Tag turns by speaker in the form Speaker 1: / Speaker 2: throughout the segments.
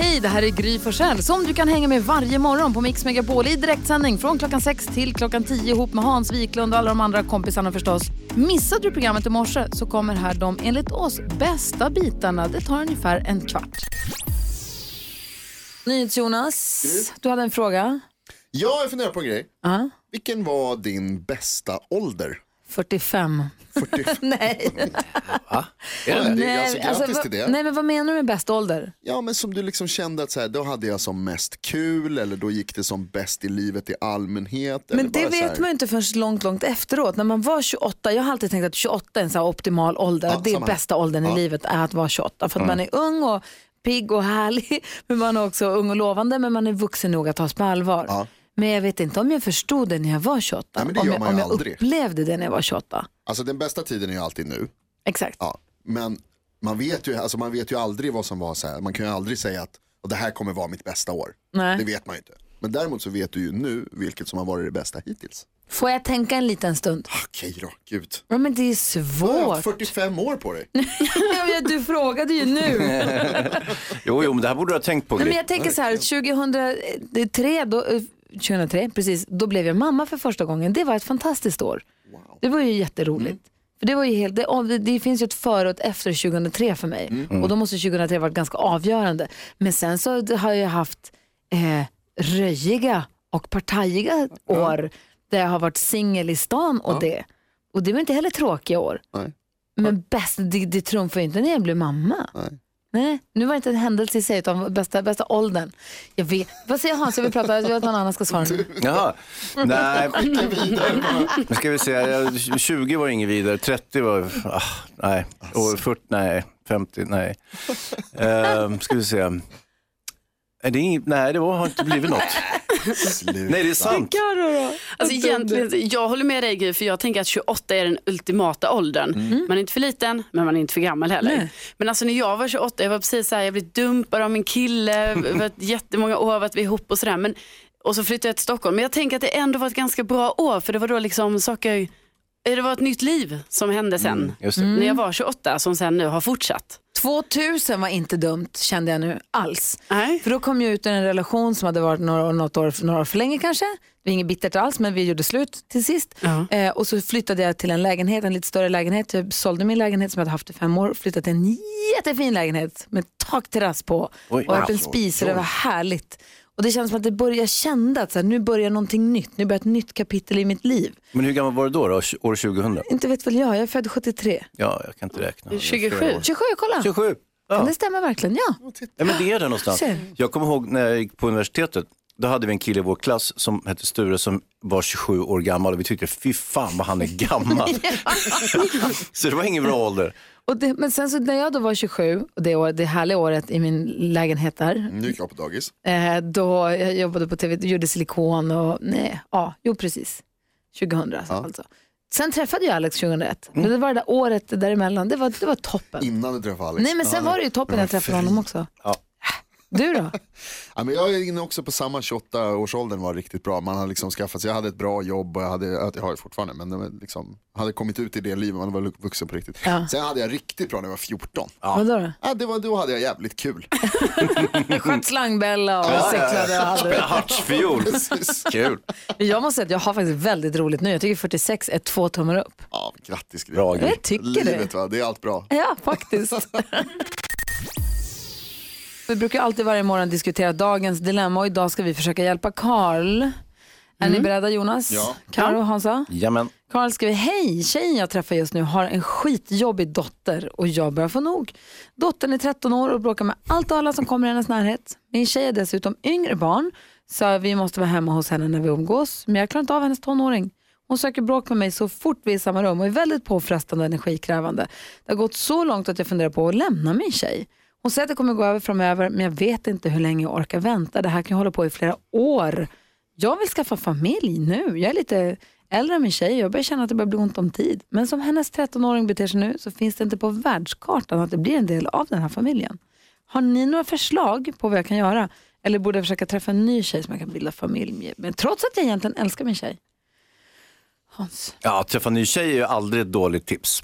Speaker 1: Hej, det här är Gry Forssell som du kan hänga med varje morgon på Mix Megapol i direktsändning från klockan 6 till klockan 10 ihop med Hans Wiklund och alla de andra kompisarna förstås. Missade du programmet i morse så kommer här de enligt oss bästa bitarna. Det tar ungefär en kvart. NyhetsJonas,
Speaker 2: Mm.
Speaker 1: du hade en fråga.
Speaker 2: Ja, jag funderar på en grej.
Speaker 1: Ja.
Speaker 2: Vilken var din bästa ålder?
Speaker 1: 45.
Speaker 2: 40...
Speaker 1: Nej.
Speaker 2: det är alltså, grattis
Speaker 1: alltså,
Speaker 2: till
Speaker 1: vad-
Speaker 2: det.
Speaker 1: nej, men vad menar du med bästa ålder?
Speaker 2: Ja, men som du liksom kände att så här, då hade jag som mest kul eller då gick det som bäst i livet i allmänhet. eller
Speaker 3: Men det
Speaker 2: bara så här-
Speaker 3: vet man ju inte förrän långt, långt efteråt. När man var 28, jag har alltid tänkt att 28 är en så här optimal ålder.
Speaker 2: Ja,
Speaker 3: att det är
Speaker 2: samma här.
Speaker 3: bästa åldern
Speaker 2: Ja. Mm.
Speaker 3: i livet är att vara 28. För att man är ung och pigg och härlig. Men man är också ung och lovande, men man är vuxen nog att tas på allvar.
Speaker 2: Ja.
Speaker 3: Men jag vet inte om jag förstod det när jag var 28.
Speaker 2: Nej, men det
Speaker 3: om
Speaker 2: gör
Speaker 3: jag,
Speaker 2: man ju
Speaker 3: om jag
Speaker 2: aldrig.
Speaker 3: upplevde det när jag var 28.
Speaker 2: Alltså den bästa tiden är ju alltid nu.
Speaker 3: Exakt.
Speaker 2: Ja. Men man vet, ju, alltså, man vet ju aldrig vad som var så här. Man kan ju aldrig säga att "Och det här kommer vara mitt bästa år.
Speaker 3: Nej.
Speaker 2: Det vet man ju inte. Men däremot så vet du ju nu vilket som har varit det bästa hittills.
Speaker 3: Får jag tänka en liten stund?
Speaker 2: Okej då, gud.
Speaker 3: Ja, men det är
Speaker 2: Du har
Speaker 3: svårt.
Speaker 2: haft 45 år på dig.
Speaker 3: Ja, men du frågade ju nu.
Speaker 4: Jo, jo, men det här borde du ha tänkt på.
Speaker 3: Nej,
Speaker 4: Gry.
Speaker 3: men jag tänker så här, 2003, då, eh, 2003 precis, då blev jag mamma för första gången. Det var ett fantastiskt år. Det var ju jätteroligt. För det, var ju helt, det, av- det, det finns ju ett före och ett efter 2003 för mig. Och då måste 2003 varit ganska avgörande. Men sen så har jag haft eh, röjiga och partajiga år där jag har varit singel i stan och det. Och det var inte heller tråkiga år.
Speaker 2: Nej.
Speaker 3: Men bäst, det, det trumfar ju inte när jag blev mamma.
Speaker 2: Nej.
Speaker 3: Nej, nu var det inte en händelse i sig utan bästa, bästa åldern. Jag vet, vad säger Hans? Jag vill prata, jag vill att någon annan ska svara nu.
Speaker 4: Jaha. Nej. Nu ska vi se, jag- 20 var inget vidare, 30 var, ah, nej, och 40, nej, 50, nej. Ehm, ska vi se. Är det inget, nej, det var, har inte blivit något.
Speaker 2: Sluta.
Speaker 4: Nej, det är sant.
Speaker 5: Alltså egentligen, jag håller med dig Gry, för jag tänker att 28 är den ultimata åldern. Man är inte för liten, men man är inte för gammal heller. Men alltså när jag var 28, jag var precis så här, jag blev dumpad av min kille, det var ett jättemånga år, varit vi ihop och sådär. Men- Och så flyttade jag till Stockholm. Men jag tänker att det ändå var ett ganska bra år, för det var då liksom saker, eh, det var ett nytt liv som hände sen.
Speaker 4: Just det.
Speaker 3: Mm.
Speaker 5: När jag var 28, som sen nu har fortsatt.
Speaker 3: 2000 var inte dumt kände jag nu alls.
Speaker 5: Nej.
Speaker 3: För då kom jag ut ur en relation som hade varit några, något år, några år för länge kanske. Det var inget bittert alls men vi gjorde slut till sist.
Speaker 5: Ja.
Speaker 3: Eh, och så flyttade jag till en lägenhet, en lite större lägenhet. Jag sålde min lägenhet som jag hade haft i fem år och flyttade till en jättefin lägenhet med takterrass på.
Speaker 4: Oj,
Speaker 3: och öppen
Speaker 4: wow.
Speaker 3: spis och det var härligt. Och det kändes som att det började, jag kände att så här, nu börjar någonting nytt, nu börjar ett nytt kapitel i mitt liv.
Speaker 4: Men hur gammal var du då, då? år 2000?
Speaker 3: Inte vet väl jag, jag är född 73.
Speaker 4: Ja, jag kan inte räkna.
Speaker 5: 27.
Speaker 3: 27, kolla.
Speaker 4: 27.
Speaker 3: Kan
Speaker 4: Ja.
Speaker 3: det stämmer verkligen? Ja.
Speaker 4: Ja, men det är där någonstans.
Speaker 3: Ser.
Speaker 4: Jag kommer ihåg när jag gick på universitetet. Då hade vi en kille i vår klass som hette Sture som var 27 år gammal och vi tyckte fy fan vad han är gammal. så det var ingen bra ålder.
Speaker 3: Och det, men sen så när jag då var 27, och det, år, det härliga året i min lägenhet där,
Speaker 2: Nu gick jag på dagis.
Speaker 3: eh, då jag jobbade på TV, gjorde silikon och nej, ja, jo precis. 2000 alltså. Sen träffade jag Alex 2001, men det var det där året däremellan, det var, det var toppen.
Speaker 2: Innan du träffade Alex.
Speaker 3: Nej men sen
Speaker 2: Ja.
Speaker 3: var det ju toppen när jag träffade honom också.
Speaker 4: Ja.
Speaker 3: Du då?
Speaker 2: Ja, men jag är inne också på samma 28-årsåldern var riktigt bra. Man hade liksom skaffat sig, jag hade ett bra jobb och jag hade, jag har ju fortfarande, men det var liksom, hade kommit ut i det livet, man var vuxen på riktigt. Sen hade jag riktigt bra när jag var 14. Ja.
Speaker 3: Vadå då?
Speaker 2: det var, då hade jag jävligt kul.
Speaker 3: Jag sköt slangbella och cyklade och hade
Speaker 4: Spela hartsfiol.
Speaker 2: Precis.
Speaker 4: Kul.
Speaker 3: Jag måste säga att jag har faktiskt väldigt roligt nu. Jag tycker 46 är två tummar upp.
Speaker 2: Ja, grattis Gry.
Speaker 4: Bra grej.
Speaker 3: Jag tycker det.
Speaker 2: Livet va, det är allt bra.
Speaker 3: Ja, faktiskt. vi brukar alltid varje morgon diskutera dagens dilemma och idag ska vi försöka hjälpa Karl. Är ni beredda Jonas?
Speaker 2: Ja.
Speaker 3: Karo och Hansa?
Speaker 4: Jamen.
Speaker 3: Karl skriver, hej, tjejen jag träffar just nu har en skitjobbig dotter och jag börjar få nog. Dottern är 13 år och bråkar med allt och alla som kommer i hennes närhet. Min tjej är dessutom yngre barn så vi måste vara hemma hos henne när vi umgås men jag klarar inte av hennes tonåring. Hon söker bråk med mig så fort vi är i samma rum och är väldigt påfrestande och energikrävande. Det har gått så långt att jag funderar på att lämna min tjej. Hon säger att det kommer gå över framöver men jag vet inte hur länge jag orkar vänta. Det här kan ju hålla på i flera år. Jag vill skaffa familj nu. Jag är lite Eller om en tjej, jag börjar känna att det börjar bli ont om tid. Men som hennes 13-åring beter sig nu så finns det inte på världskartan att det blir en del av den här familjen. Har ni några förslag på vad jag kan göra? Eller borde jag försöka träffa en ny tjej som jag kan bilda familj med? Men trots att jag egentligen älskar min tjej. Hans.
Speaker 4: Ja, att träffa en ny tjej är ju aldrig ett dåligt tips.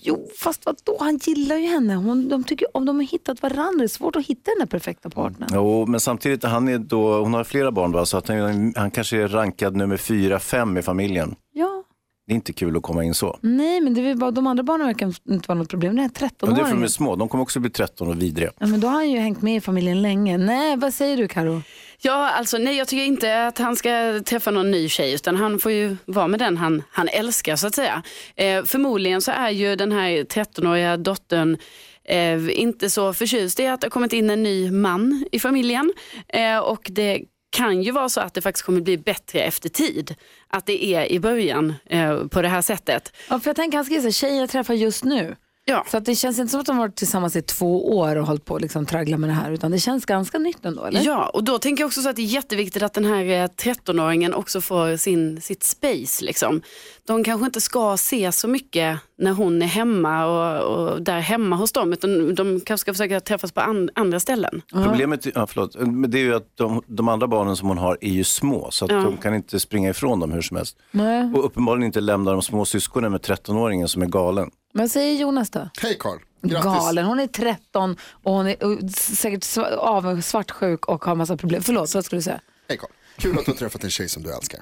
Speaker 3: Jo, fast vadå? Han gillar ju henne. Hon, de tycker om de har hittat varandra. Det är svårt att hitta den där perfekta partnern.
Speaker 4: Jo, men samtidigt, han är då, hon har flera barn va? så att han, han kanske är rankad nummer fyra, fem i familjen.
Speaker 3: Ja.
Speaker 4: Det är inte kul att komma in så.
Speaker 3: Nej, men det är väl bara, de andra barnen verkar inte vara något problem. Den här
Speaker 4: Men det är för
Speaker 3: 13-åringen.
Speaker 4: de är små, de kommer också bli 13 och vidriga.
Speaker 3: Ja, men då har han ju hängt med i familjen länge. Nej, vad säger du Karo?
Speaker 5: Ja, alltså nej jag tycker inte att han ska träffa någon ny tjej utan han får ju vara med den han, han älskar så att säga. Eh, förmodligen så är ju den här 13-åriga dottern eh, inte så förtjust i att det har kommit in en ny man i familjen. Eh, och det kan ju vara så att det faktiskt kommer bli bättre efter tid. Att det är i början eh, på det här sättet.
Speaker 3: Ja, för jag tänker han ska gissa tjejer jag träffar just nu.
Speaker 5: Ja.
Speaker 3: Så att det känns inte som att de har varit tillsammans i två år och hållit på och liksom traggla med det här. Utan det känns ganska nytt ändå, eller?
Speaker 5: Ja, och då tänker jag också så att det är jätteviktigt att den här eh, 13-åringen också får sin, sitt space. Liksom. De kanske inte ska se så mycket när hon är hemma och, och där hemma hos dem, utan de kanske ska försöka träffas på an, andra ställen.
Speaker 4: Problemet ja, förlåt, men det är ju att de, de andra barnen som hon har är ju små så att de kan inte springa ifrån dem hur som helst.
Speaker 3: Nej.
Speaker 4: Och uppenbarligen inte lämna de små syskonen med 13-åringen som är galen.
Speaker 3: Men vad säger Jonas då?
Speaker 2: Hej Carl, grattis.
Speaker 3: Galen, hon är 13 och hon är och säkert sva- av svartsjuk och har massa problem. Förlåt, vad skulle du säga?
Speaker 2: Hej Carl, kul att du har träffat en tjej som du älskar.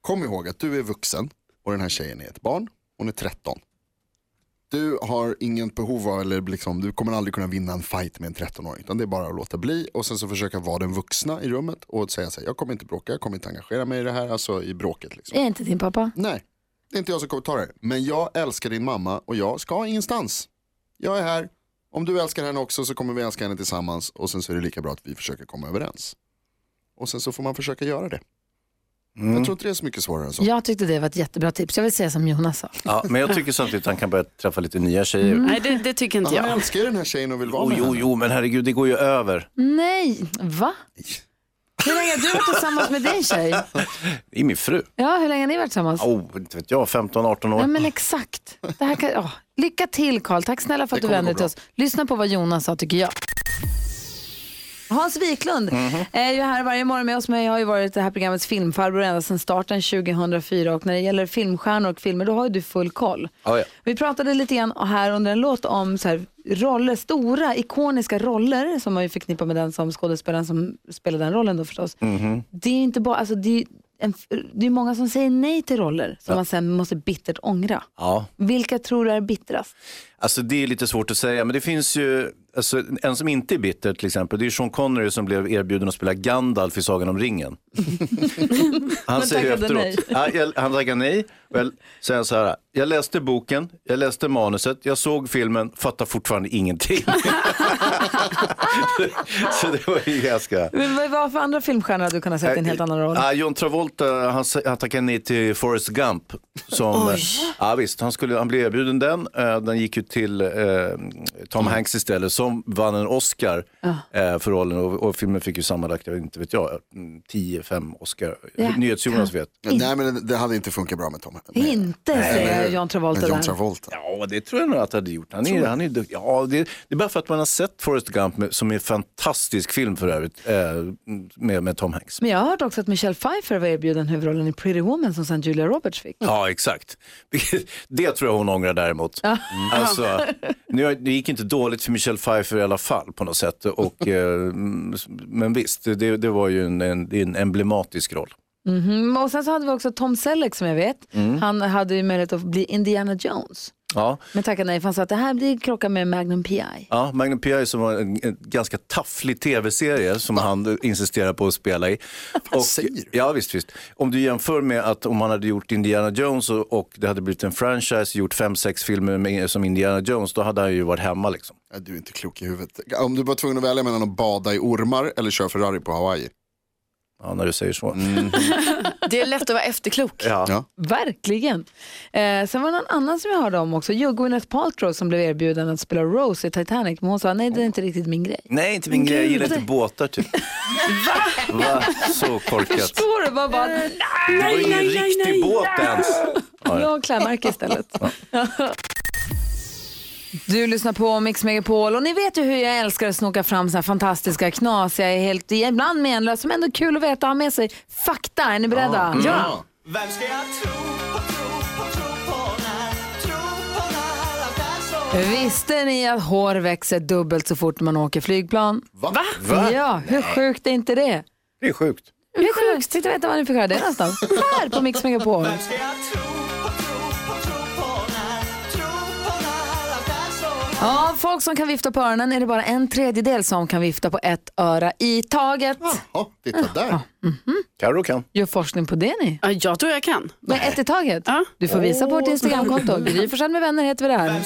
Speaker 2: Kom ihåg att du är vuxen och den här tjejen är ett barn. Hon är 13. Du har inget behov av, eller liksom, du kommer aldrig kunna vinna en fight med en 13-åring. Utan det är bara att låta bli och sen så försöka vara den vuxna i rummet och säga så här, jag kommer inte bråka, jag kommer inte engagera mig i det här, alltså i bråket. Liksom.
Speaker 3: Är inte din pappa?
Speaker 2: Nej, det är inte jag som kommer ta det. här. Men jag älskar din mamma och jag ska ingenstans. Jag är här. Om du älskar henne också så kommer vi älska henne tillsammans och sen så är det lika bra att vi försöker komma överens. Och sen så får man försöka göra det. Jag tror inte det är så mycket svårare än så.
Speaker 3: Jag tyckte det var ett jättebra tips. Jag vill säga som Jonas sa.
Speaker 4: Ja, men jag tycker samtidigt att han kan börja träffa lite nya tjejer.
Speaker 3: Mm.
Speaker 5: Nej, det, det tycker inte
Speaker 2: Han
Speaker 5: jag.
Speaker 2: älskar ju den här tjejen och vill vara
Speaker 4: Oh,
Speaker 2: med
Speaker 4: jo,
Speaker 2: henne.
Speaker 4: jo, men herregud, det går ju över.
Speaker 3: Mm. Nej, va? Hur länge har du varit tillsammans med din tjej?
Speaker 4: Det är min fru.
Speaker 3: Ja, hur länge har ni varit tillsammans?
Speaker 4: Oh, inte vet jag, 15-18 år.
Speaker 3: Ja, men exakt. Det här kan, åh. Lycka till Karl, tack snälla för att
Speaker 2: Det
Speaker 3: du
Speaker 2: kommer
Speaker 3: vände
Speaker 2: gå
Speaker 3: dig till oss. Lyssna på vad Jonas sa tycker jag. Hans Wiklund
Speaker 4: Mhm.
Speaker 3: är ju här varje morgon med oss, men jag har ju varit det här programmets filmfarbror ända sedan starten 2004 och när det gäller filmstjärnor och filmer då har ju du full koll.
Speaker 4: Ja, ja.
Speaker 3: Vi pratade lite grann här under en låt om så här, roller, stora ikoniska roller som man ju förknippar med den som skådespelaren som spelar den rollen då förstås.
Speaker 4: Mhm.
Speaker 3: Det är ju inte bara, alltså det är, en, det är många som säger nej till roller som man sen måste bittert ångra.
Speaker 4: Ja.
Speaker 3: Vilka tror du är bittrast?
Speaker 4: Alltså det är lite svårt att säga, men det finns ju, alltså, en som inte är bitter till exempel, det är Sean Connery som blev erbjuden att spela Gandalf i Sagan om ringen. han säger ju
Speaker 3: tackade
Speaker 4: efteråt,
Speaker 3: nej.
Speaker 4: ja, jag, han tackar nej, och jag säger så här, jag läste boken, jag läste manuset, jag såg filmen, fattar fortfarande ingenting. så det var ju ganska...
Speaker 3: Men vad, vad för andra filmstjärnor hade du kunnat sätta i en
Speaker 4: Äh,
Speaker 3: helt annan roll?
Speaker 4: Ja, Eh, ah, John Travolta, han, sa- han tackade nej till Forrest Gump. Som, eh, ja, visst, han, skulle, han blev erbjuden den. Eh, Den gick ju till eh, Tom Hanks istället som vann en Oscar eh, för rollen. Och, och filmen fick ju sammanlagt, jag vet inte vet jag, 10-5 Oscar.
Speaker 3: Ja.
Speaker 4: NyhetsJonas vet.
Speaker 2: Nej men det- det hade inte funkat bra med Tom. Med,
Speaker 3: Inte säger John Travolta
Speaker 2: med John
Speaker 3: där.
Speaker 2: Travolta.
Speaker 4: Ja, det tror jag nog att det hade gjort. Han är, han är duktig. Ja, det, det är bara för att man har sett Forrest Gump, med, som är en fantastisk film för övrigt, eh, med, med Tom Hanks.
Speaker 3: Men jag har hört också att Michelle Pfeiffer var erbjuden huvudrollen i Pretty Woman som sen Julia Roberts fick.
Speaker 4: Ja, exakt. Vilket- Det tror jag hon ångrar däremot. Alltså, nu, det gick inte dåligt för Michelle Pfeiffer i alla fall på något sätt. Och, eh, mm, men visst, det, det var ju en, en, det är en emblematisk roll.
Speaker 3: Mm, och sen så hade vi också Tom Selleck som jag vet.
Speaker 4: Mm.
Speaker 3: Han hade ju möjlighet att bli Indiana Jones.
Speaker 4: Ja,
Speaker 3: Men tackade nej för han sa att det här blir krocka med Magnum P.I.
Speaker 4: ja Magnum P.I. som var en, en ganska tafflig tv-serie som han insisterar på att spela i. Och,
Speaker 2: säger du?
Speaker 4: ja, visst, visst. Om du jämför med att om han hade gjort Indiana Jones och, och det hade blivit en franchise, gjort fem, sex filmer med, som Indiana Jones, då hade han ju varit hemma liksom.
Speaker 2: Ja, Du är inte klok i huvudet. Om du var tvungen att välja mellan att bada i ormar eller köra Ferrari på Hawaii.
Speaker 4: Ja, när du säger så.
Speaker 2: Mm.
Speaker 5: Det är lätt att vara efterklok.
Speaker 4: Ja.
Speaker 2: Ja.
Speaker 3: Verkligen. Eh, sen var det någon annan som jag hörde om också. Jo, Gwyneth Paltrow som blev erbjuden att spela Rose i Titanic. Men hon sa nej, det är inte riktigt min grej.
Speaker 4: Nej, inte min grej. Jag gillar inte båtar typ. Va? Så korkat.
Speaker 3: Förstår du? Bara, bara,
Speaker 5: Eh,
Speaker 3: nej,
Speaker 4: Det var ingen riktig båt ens. Ja, ja.
Speaker 3: jag har klädmärke istället. Du lyssnar på Mix Megapol och ni vet ju hur jag älskar att snoka fram så här fantastiska knas. Jag är helt, ibland menlös, men ändå kul att veta ha med sig fakta. Är ni beredda?
Speaker 2: Ja. Mm.
Speaker 3: Visste ni att hår växer dubbelt så fort man åker flygplan?
Speaker 2: Va?
Speaker 3: Ja, hur sjukt är inte det?
Speaker 4: Det är sjukt.
Speaker 3: Hur sjukt? Titta veta var ni fick höra det någonstans. Här på Mix Megapol. Ja, folk som kan vifta på öronen är det bara en tredjedel som kan vifta på ett öra i taget.
Speaker 2: Ja, titta där.
Speaker 4: Carro kan.
Speaker 3: Gör forskning på det ni.
Speaker 5: Ja, Jag tror jag kan.
Speaker 3: Men ett i taget?
Speaker 5: Ja.
Speaker 3: Du får visa på vårt Instagramkonto. Gry Forssell med vänner heter vi där.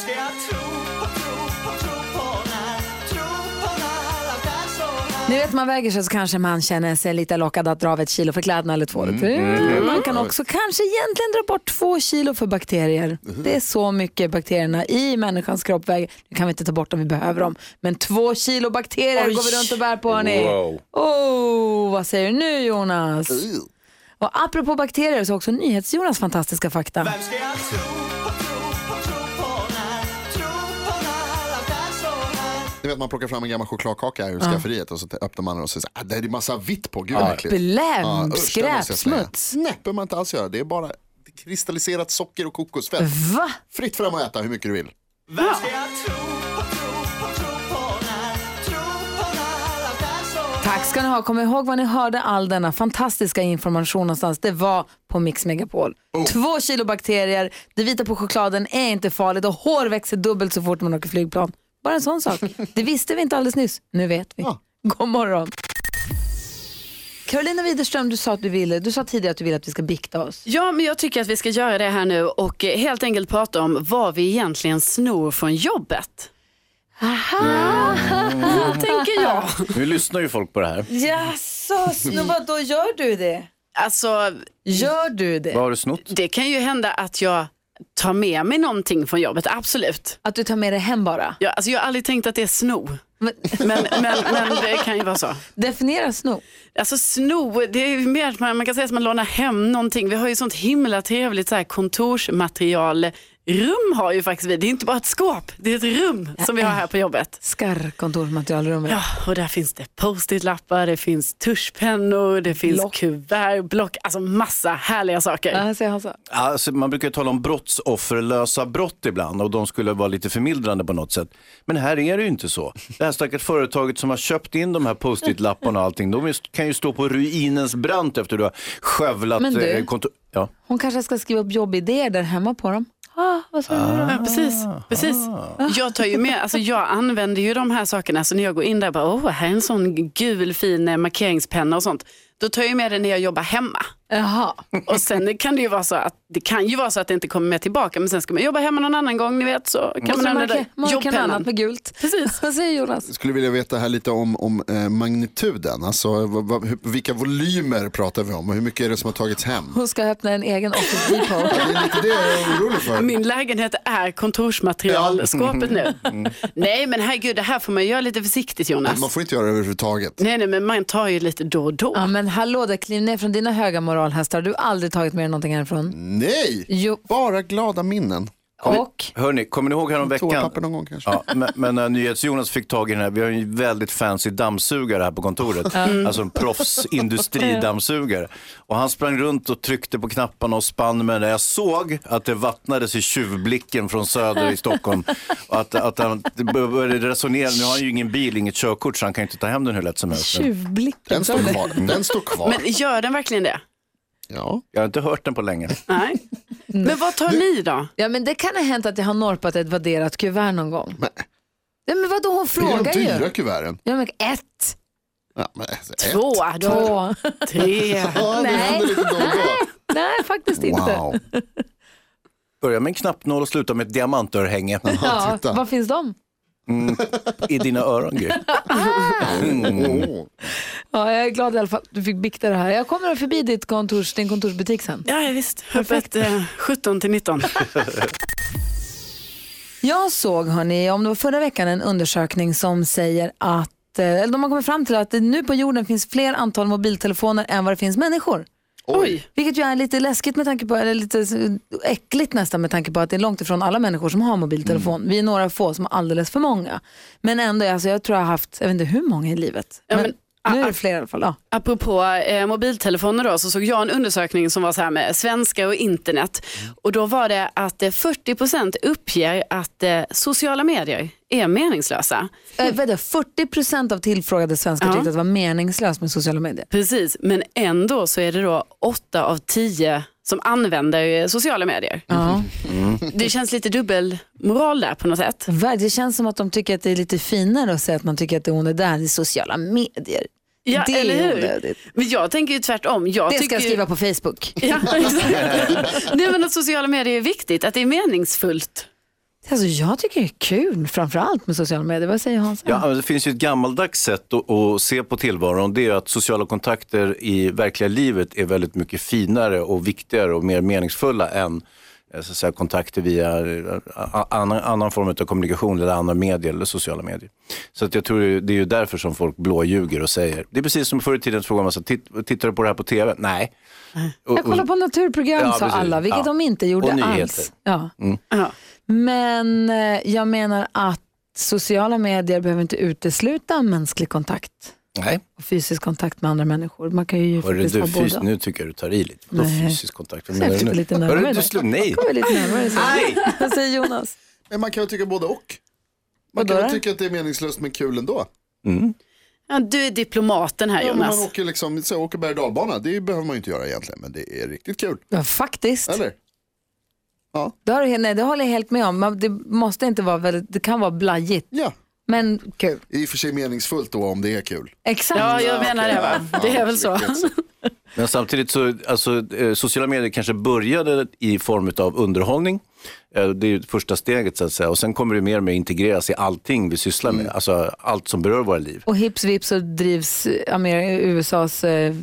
Speaker 3: Ni vet man väger sig så kanske man känner sig lite lockad att dra av ett kilo för kläderna eller två. Man kan också kanske egentligen dra bort två kilo för bakterier. Det är så mycket bakterierna i människans kropp väger. Nu kan vi inte ta bort dem, vi behöver dem. Men två kilo bakterier går vi runt och bär på hörni.
Speaker 4: Wow.
Speaker 3: Oh, vad säger du nu Jonas? Och apropå bakterier så har också NyhetsJonas fantastiska fakta.
Speaker 2: Ni vet man plockar fram en gammal chokladkaka ur skafferiet och så öppnar man den och så säger så här, "Ah, det är massa vitt på, gud vad äckligt.
Speaker 3: Bläm,
Speaker 2: Ja, usch, det måste jag
Speaker 3: skräp,
Speaker 2: slänga.
Speaker 3: smuts.
Speaker 2: Nej, behöver man inte alls göra. Det är bara kristalliserat socker och kokosfett.
Speaker 3: Va?
Speaker 2: Fritt fram att äta hur mycket du vill.
Speaker 3: Tack ska ni ha. Kom ihåg var ni hörde all denna fantastiska information någonstans. Det var på Mix Megapol.
Speaker 2: Oh.
Speaker 3: Två kilo bakterier, det vita på chokladen är inte farligt och hår växer dubbelt så fort man åker flygplan. Bara en sån sak. Det visste vi inte alldeles nyss. Nu vet vi.
Speaker 2: Ja.
Speaker 3: God morgon. Carolina Widerström, du sa, att du, ville, du sa tidigare att du ville att vi ska bikta oss.
Speaker 5: Ja, men jag tycker att vi ska göra det här nu och eh, helt enkelt prata om vad vi egentligen snor från jobbet. Mm. Aha. tänker jag.
Speaker 4: Nu lyssnar ju folk på det här.
Speaker 3: Jaså, snubbar, då gör du det?
Speaker 5: Alltså,
Speaker 3: Gör du det?
Speaker 4: Vad har du snott?
Speaker 5: det kan ju hända att jag tar med mig någonting från jobbet, absolut.
Speaker 3: Att du tar med dig hem bara?
Speaker 5: Jag, alltså, jag har aldrig tänkt att det är sno,
Speaker 3: Men,
Speaker 5: men, men, men det kan ju vara så.
Speaker 3: definiera sno.
Speaker 5: Alltså sno, det är ju mer att man, man kan säga att man lånar hem någonting. Vi har ju sånt himla trevligt så här kontorsmaterial. Rum har ju faktiskt vi. Det är inte bara ett skåp, det är ett rum som vi har här på jobbet.
Speaker 3: Skarr kontorsmaterialrummet.
Speaker 5: Ja, och där finns det post-it-lappar, det finns tuschpennor, det finns kuvert, block, alltså massa härliga saker.
Speaker 3: Ja, här ser han så.
Speaker 4: Alltså, man brukar ju tala om brottsofferlösa brott ibland och de skulle vara lite förmildrande på något sätt. Men här är det ju inte så. Det här stackars företaget som har köpt in de här post-it-lapparna och allting, de är- kan ju stå på ruinens brant efter du har skövlat
Speaker 3: Men du-
Speaker 4: eh, kontor... Ja.
Speaker 3: Hon kanske ska skriva upp jobbidéer där hemma på dem. Ah, vad sa du då?
Speaker 5: Ja, precis.
Speaker 2: ah.
Speaker 5: precis. Jag tar ju med, alltså jag använder ju de här sakerna, så när jag går in där bara, åh, här är en sån gul fin eh, markeringspenna och sånt. Då tar jag med det när jag jobbar hemma.
Speaker 3: Jaha.
Speaker 5: Och sen kan det ju vara så att det kan ju vara så att det inte kommer med tillbaka, men sen ska man jobba hemma någon annan gång, ni vet, så kan
Speaker 3: Och
Speaker 5: man
Speaker 3: så
Speaker 5: använda
Speaker 3: marker- markera något annat med gult.
Speaker 5: Precis.
Speaker 3: Vad säger Jonas?
Speaker 2: Jag skulle vilja veta här lite om, om eh, magnituden. Alltså, vad- vad- hur, vilka volymer pratar vi om och hur mycket är det som har tagits hem?
Speaker 3: Hon ska öppna en egen office depot.
Speaker 2: Det är lite det jag är orolig för.
Speaker 5: Min lägenhet är kontorsmaterialskåpet nu. Mm. Nej, men herregud, det här får man göra lite försiktigt, Jonas.
Speaker 2: Man får inte göra det överhuvudtaget.
Speaker 5: Nej, nej, men man tar ju lite då och då.
Speaker 3: Ja, men hallå där, kliv ner från dina höga moralhästar. Du har aldrig tagit med dig någonting härifrån.
Speaker 2: Nej,
Speaker 3: Jo,
Speaker 2: bara glada minnen.
Speaker 3: och?
Speaker 4: Hörni, kommer ni ihåg häromveckan?
Speaker 2: Toapapper någon gång kanske.
Speaker 4: Ja, men, men när NyhetsJonas fick tag i den här, vi har ju en väldigt fancy dammsugare här på kontoret. Alltså en proffsindustridammsugare. Och han sprang runt och tryckte på knapparna och spann med den. Jag såg att det vattnades i tjuvblicken från söder i Stockholm. Och att, att han det började resonera, nu har han ju ingen bil, inget körkort så han kan ju inte ta hem den hur lätt som helst.
Speaker 3: Tjuvblicken.
Speaker 2: Den står kvar. Den står kvar.
Speaker 5: Men gör den verkligen det?
Speaker 2: Ja.
Speaker 4: Jag har inte hört den på länge.
Speaker 5: Nej.
Speaker 3: Mm.
Speaker 5: Men vad tar ni då?
Speaker 3: Ja, men det kan ha hänt att jag har norpat ett vadderat kuvert någon gång.
Speaker 2: Men-
Speaker 3: Ja, men vadå, hon
Speaker 2: Det är
Speaker 3: frågar
Speaker 2: de dyra
Speaker 3: ju.
Speaker 2: kuverten.
Speaker 3: Ja, men ett,
Speaker 2: Ja, men, alltså, ett.
Speaker 5: Två, du
Speaker 3: två.
Speaker 5: har tre.
Speaker 2: Ja, det
Speaker 3: Nej.
Speaker 2: händer lite då och då.
Speaker 3: Nej, faktiskt inte.
Speaker 2: Wow.
Speaker 4: Börja med en knappnål och sluta med ett diamantörhänge
Speaker 3: Ja,
Speaker 2: titta.
Speaker 3: var finns de?
Speaker 2: Mm.
Speaker 4: i dina öron Gry.
Speaker 2: Åh.
Speaker 3: Ja, jag är glad i alla fall att du fick bikta det här. Jag kommer förbi ditt kontors, din kontorsbutik sen.
Speaker 5: Ja, ja, visst. Perfekt. 17 till 19.
Speaker 3: Jag såg, hörni, om det var förra veckan, en undersökning som säger att, eh, eller de har kommit fram till att det nu på jorden finns fler antal mobiltelefoner än vad det finns människor.
Speaker 5: Oj.
Speaker 3: Vilket ju är lite läskigt med tanke på, eller lite äckligt nästan med tanke på att det är långt ifrån alla människor som har mobiltelefon.
Speaker 2: Mm.
Speaker 3: Vi är några få som har alldeles för många. Men ändå, alltså, jag tror jag har haft, jag vet inte hur många i livet.
Speaker 5: Ja,
Speaker 3: men,
Speaker 5: men-
Speaker 3: nu är
Speaker 5: ah,
Speaker 3: det
Speaker 5: ah.
Speaker 3: fler i alla fall. Ja.
Speaker 5: Apropå eh, mobiltelefoner då, så såg jag en undersökning som var så här med svenska och internet.
Speaker 3: Mm.
Speaker 5: Och då var det att eh, 40% uppger att eh, sociala medier är meningslösa.
Speaker 3: Eh, vadå, 40% av tillfrågade svenskar
Speaker 5: Ja.
Speaker 3: tyckte att det var meningslöst med sociala medier.
Speaker 5: Precis, men ändå så är det då 8 av 10 som använder eh, sociala medier.
Speaker 3: Ja.
Speaker 5: Det känns lite dubbelmoral där på något sätt.
Speaker 3: Ver- Det känns som att de tycker att det är lite finare att säga att man tycker att hon är där i sociala medier.
Speaker 5: Ja,
Speaker 3: det
Speaker 5: eller
Speaker 3: är
Speaker 5: hur?
Speaker 3: onödigt.
Speaker 5: Men jag tänker ju tvärtom. Jag
Speaker 3: Det ska
Speaker 5: tycker
Speaker 3: jag
Speaker 5: ju-
Speaker 3: skriva på Facebook.
Speaker 5: Ja, exakt. Nej, men att sociala medier är viktigt, att det är meningsfullt.
Speaker 3: Alltså, jag tycker det är kul framförallt med sociala medier. Vad säger Hans?
Speaker 4: Ja, men det finns ju ett gammaldags sätt att, att se på tillvaron. Det är ju att sociala kontakter i verkliga livet är väldigt mycket finare och viktigare och mer meningsfulla än eh, så att säga, kontakter via eh, a- annan, annan form av kommunikation eller andra medier eller sociala medier. Så att jag tror ju- det är ju därför som folk blåljuger och säger. Det är precis som förr i tiden så frågade man så, "Titt- tittar du på det här på tv? Nej. Och-
Speaker 3: Jag kollar
Speaker 4: och-
Speaker 3: på naturprogram
Speaker 4: Ja,
Speaker 3: sa
Speaker 4: precis.
Speaker 3: alla, vilket
Speaker 4: Ja.
Speaker 3: de inte gjorde
Speaker 4: Och nyheter. Mm.
Speaker 3: alls. Ja.
Speaker 5: Ja.
Speaker 3: Men eh, jag menar att sociala medier behöver inte utesluta mänsklig kontakt
Speaker 4: Nej,
Speaker 3: och fysisk kontakt med andra människor. Man kan ju
Speaker 4: hörru
Speaker 3: faktiskt
Speaker 4: du,
Speaker 3: ha
Speaker 4: fys-
Speaker 3: båda.
Speaker 4: nu tycker jag du tar i lite. Vadå
Speaker 3: Nej.
Speaker 4: fysisk kontakt? Vad
Speaker 3: Så jag
Speaker 4: menar du
Speaker 3: försöker
Speaker 4: nu?
Speaker 3: lite närmare
Speaker 4: Hörru,
Speaker 3: då.
Speaker 4: du slog nej.
Speaker 3: Jag är lite närmare så.
Speaker 4: Nej!
Speaker 3: Vad säger Jonas?
Speaker 2: Men man kan ju tycka både och. Man
Speaker 3: Vadå
Speaker 2: kan väl
Speaker 3: då?
Speaker 2: tycka att det är meningslöst men kul ändå.
Speaker 4: Mm.
Speaker 5: Ja, du är diplomaten här
Speaker 2: Ja, men man
Speaker 5: Jonas.
Speaker 2: åker, liksom, så åker berg och dalbana, det behöver man ju inte göra egentligen, men det är riktigt kul.
Speaker 3: Ja, faktiskt.
Speaker 2: Eller?
Speaker 3: Det, har, du- nej, det håller jag helt med om. Man, det, måste inte vara väldigt, det kan vara blajigt,
Speaker 2: Ja,
Speaker 3: men kul.
Speaker 2: i och för sig meningsfullt då om det är kul.
Speaker 3: Exakt.
Speaker 5: Ja, jag menar det va. Det är väl så.
Speaker 4: Men samtidigt så, alltså, eh, sociala medier kanske började i form av underhållning. Eh, Det är ju första steget så att säga. Och sen kommer det mer och mer integreras i allting vi sysslar med. Alltså allt som berör våra liv.
Speaker 3: Och hips vips så drivs Amer- USAs eh,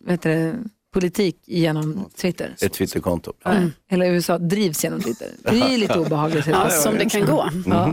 Speaker 3: vad heter det, politik genom Twitter.
Speaker 4: Ett Twitterkonto.
Speaker 3: Mm. Hela USA drivs genom Twitter. Det är ju lite obehagligt.
Speaker 5: Ja, som det kan gå.
Speaker 3: Ja.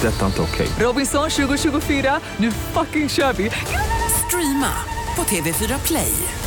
Speaker 6: Det är detta inte okej.
Speaker 7: Robinson 2024, nu fucking kör vi! Streama på TV4 Play.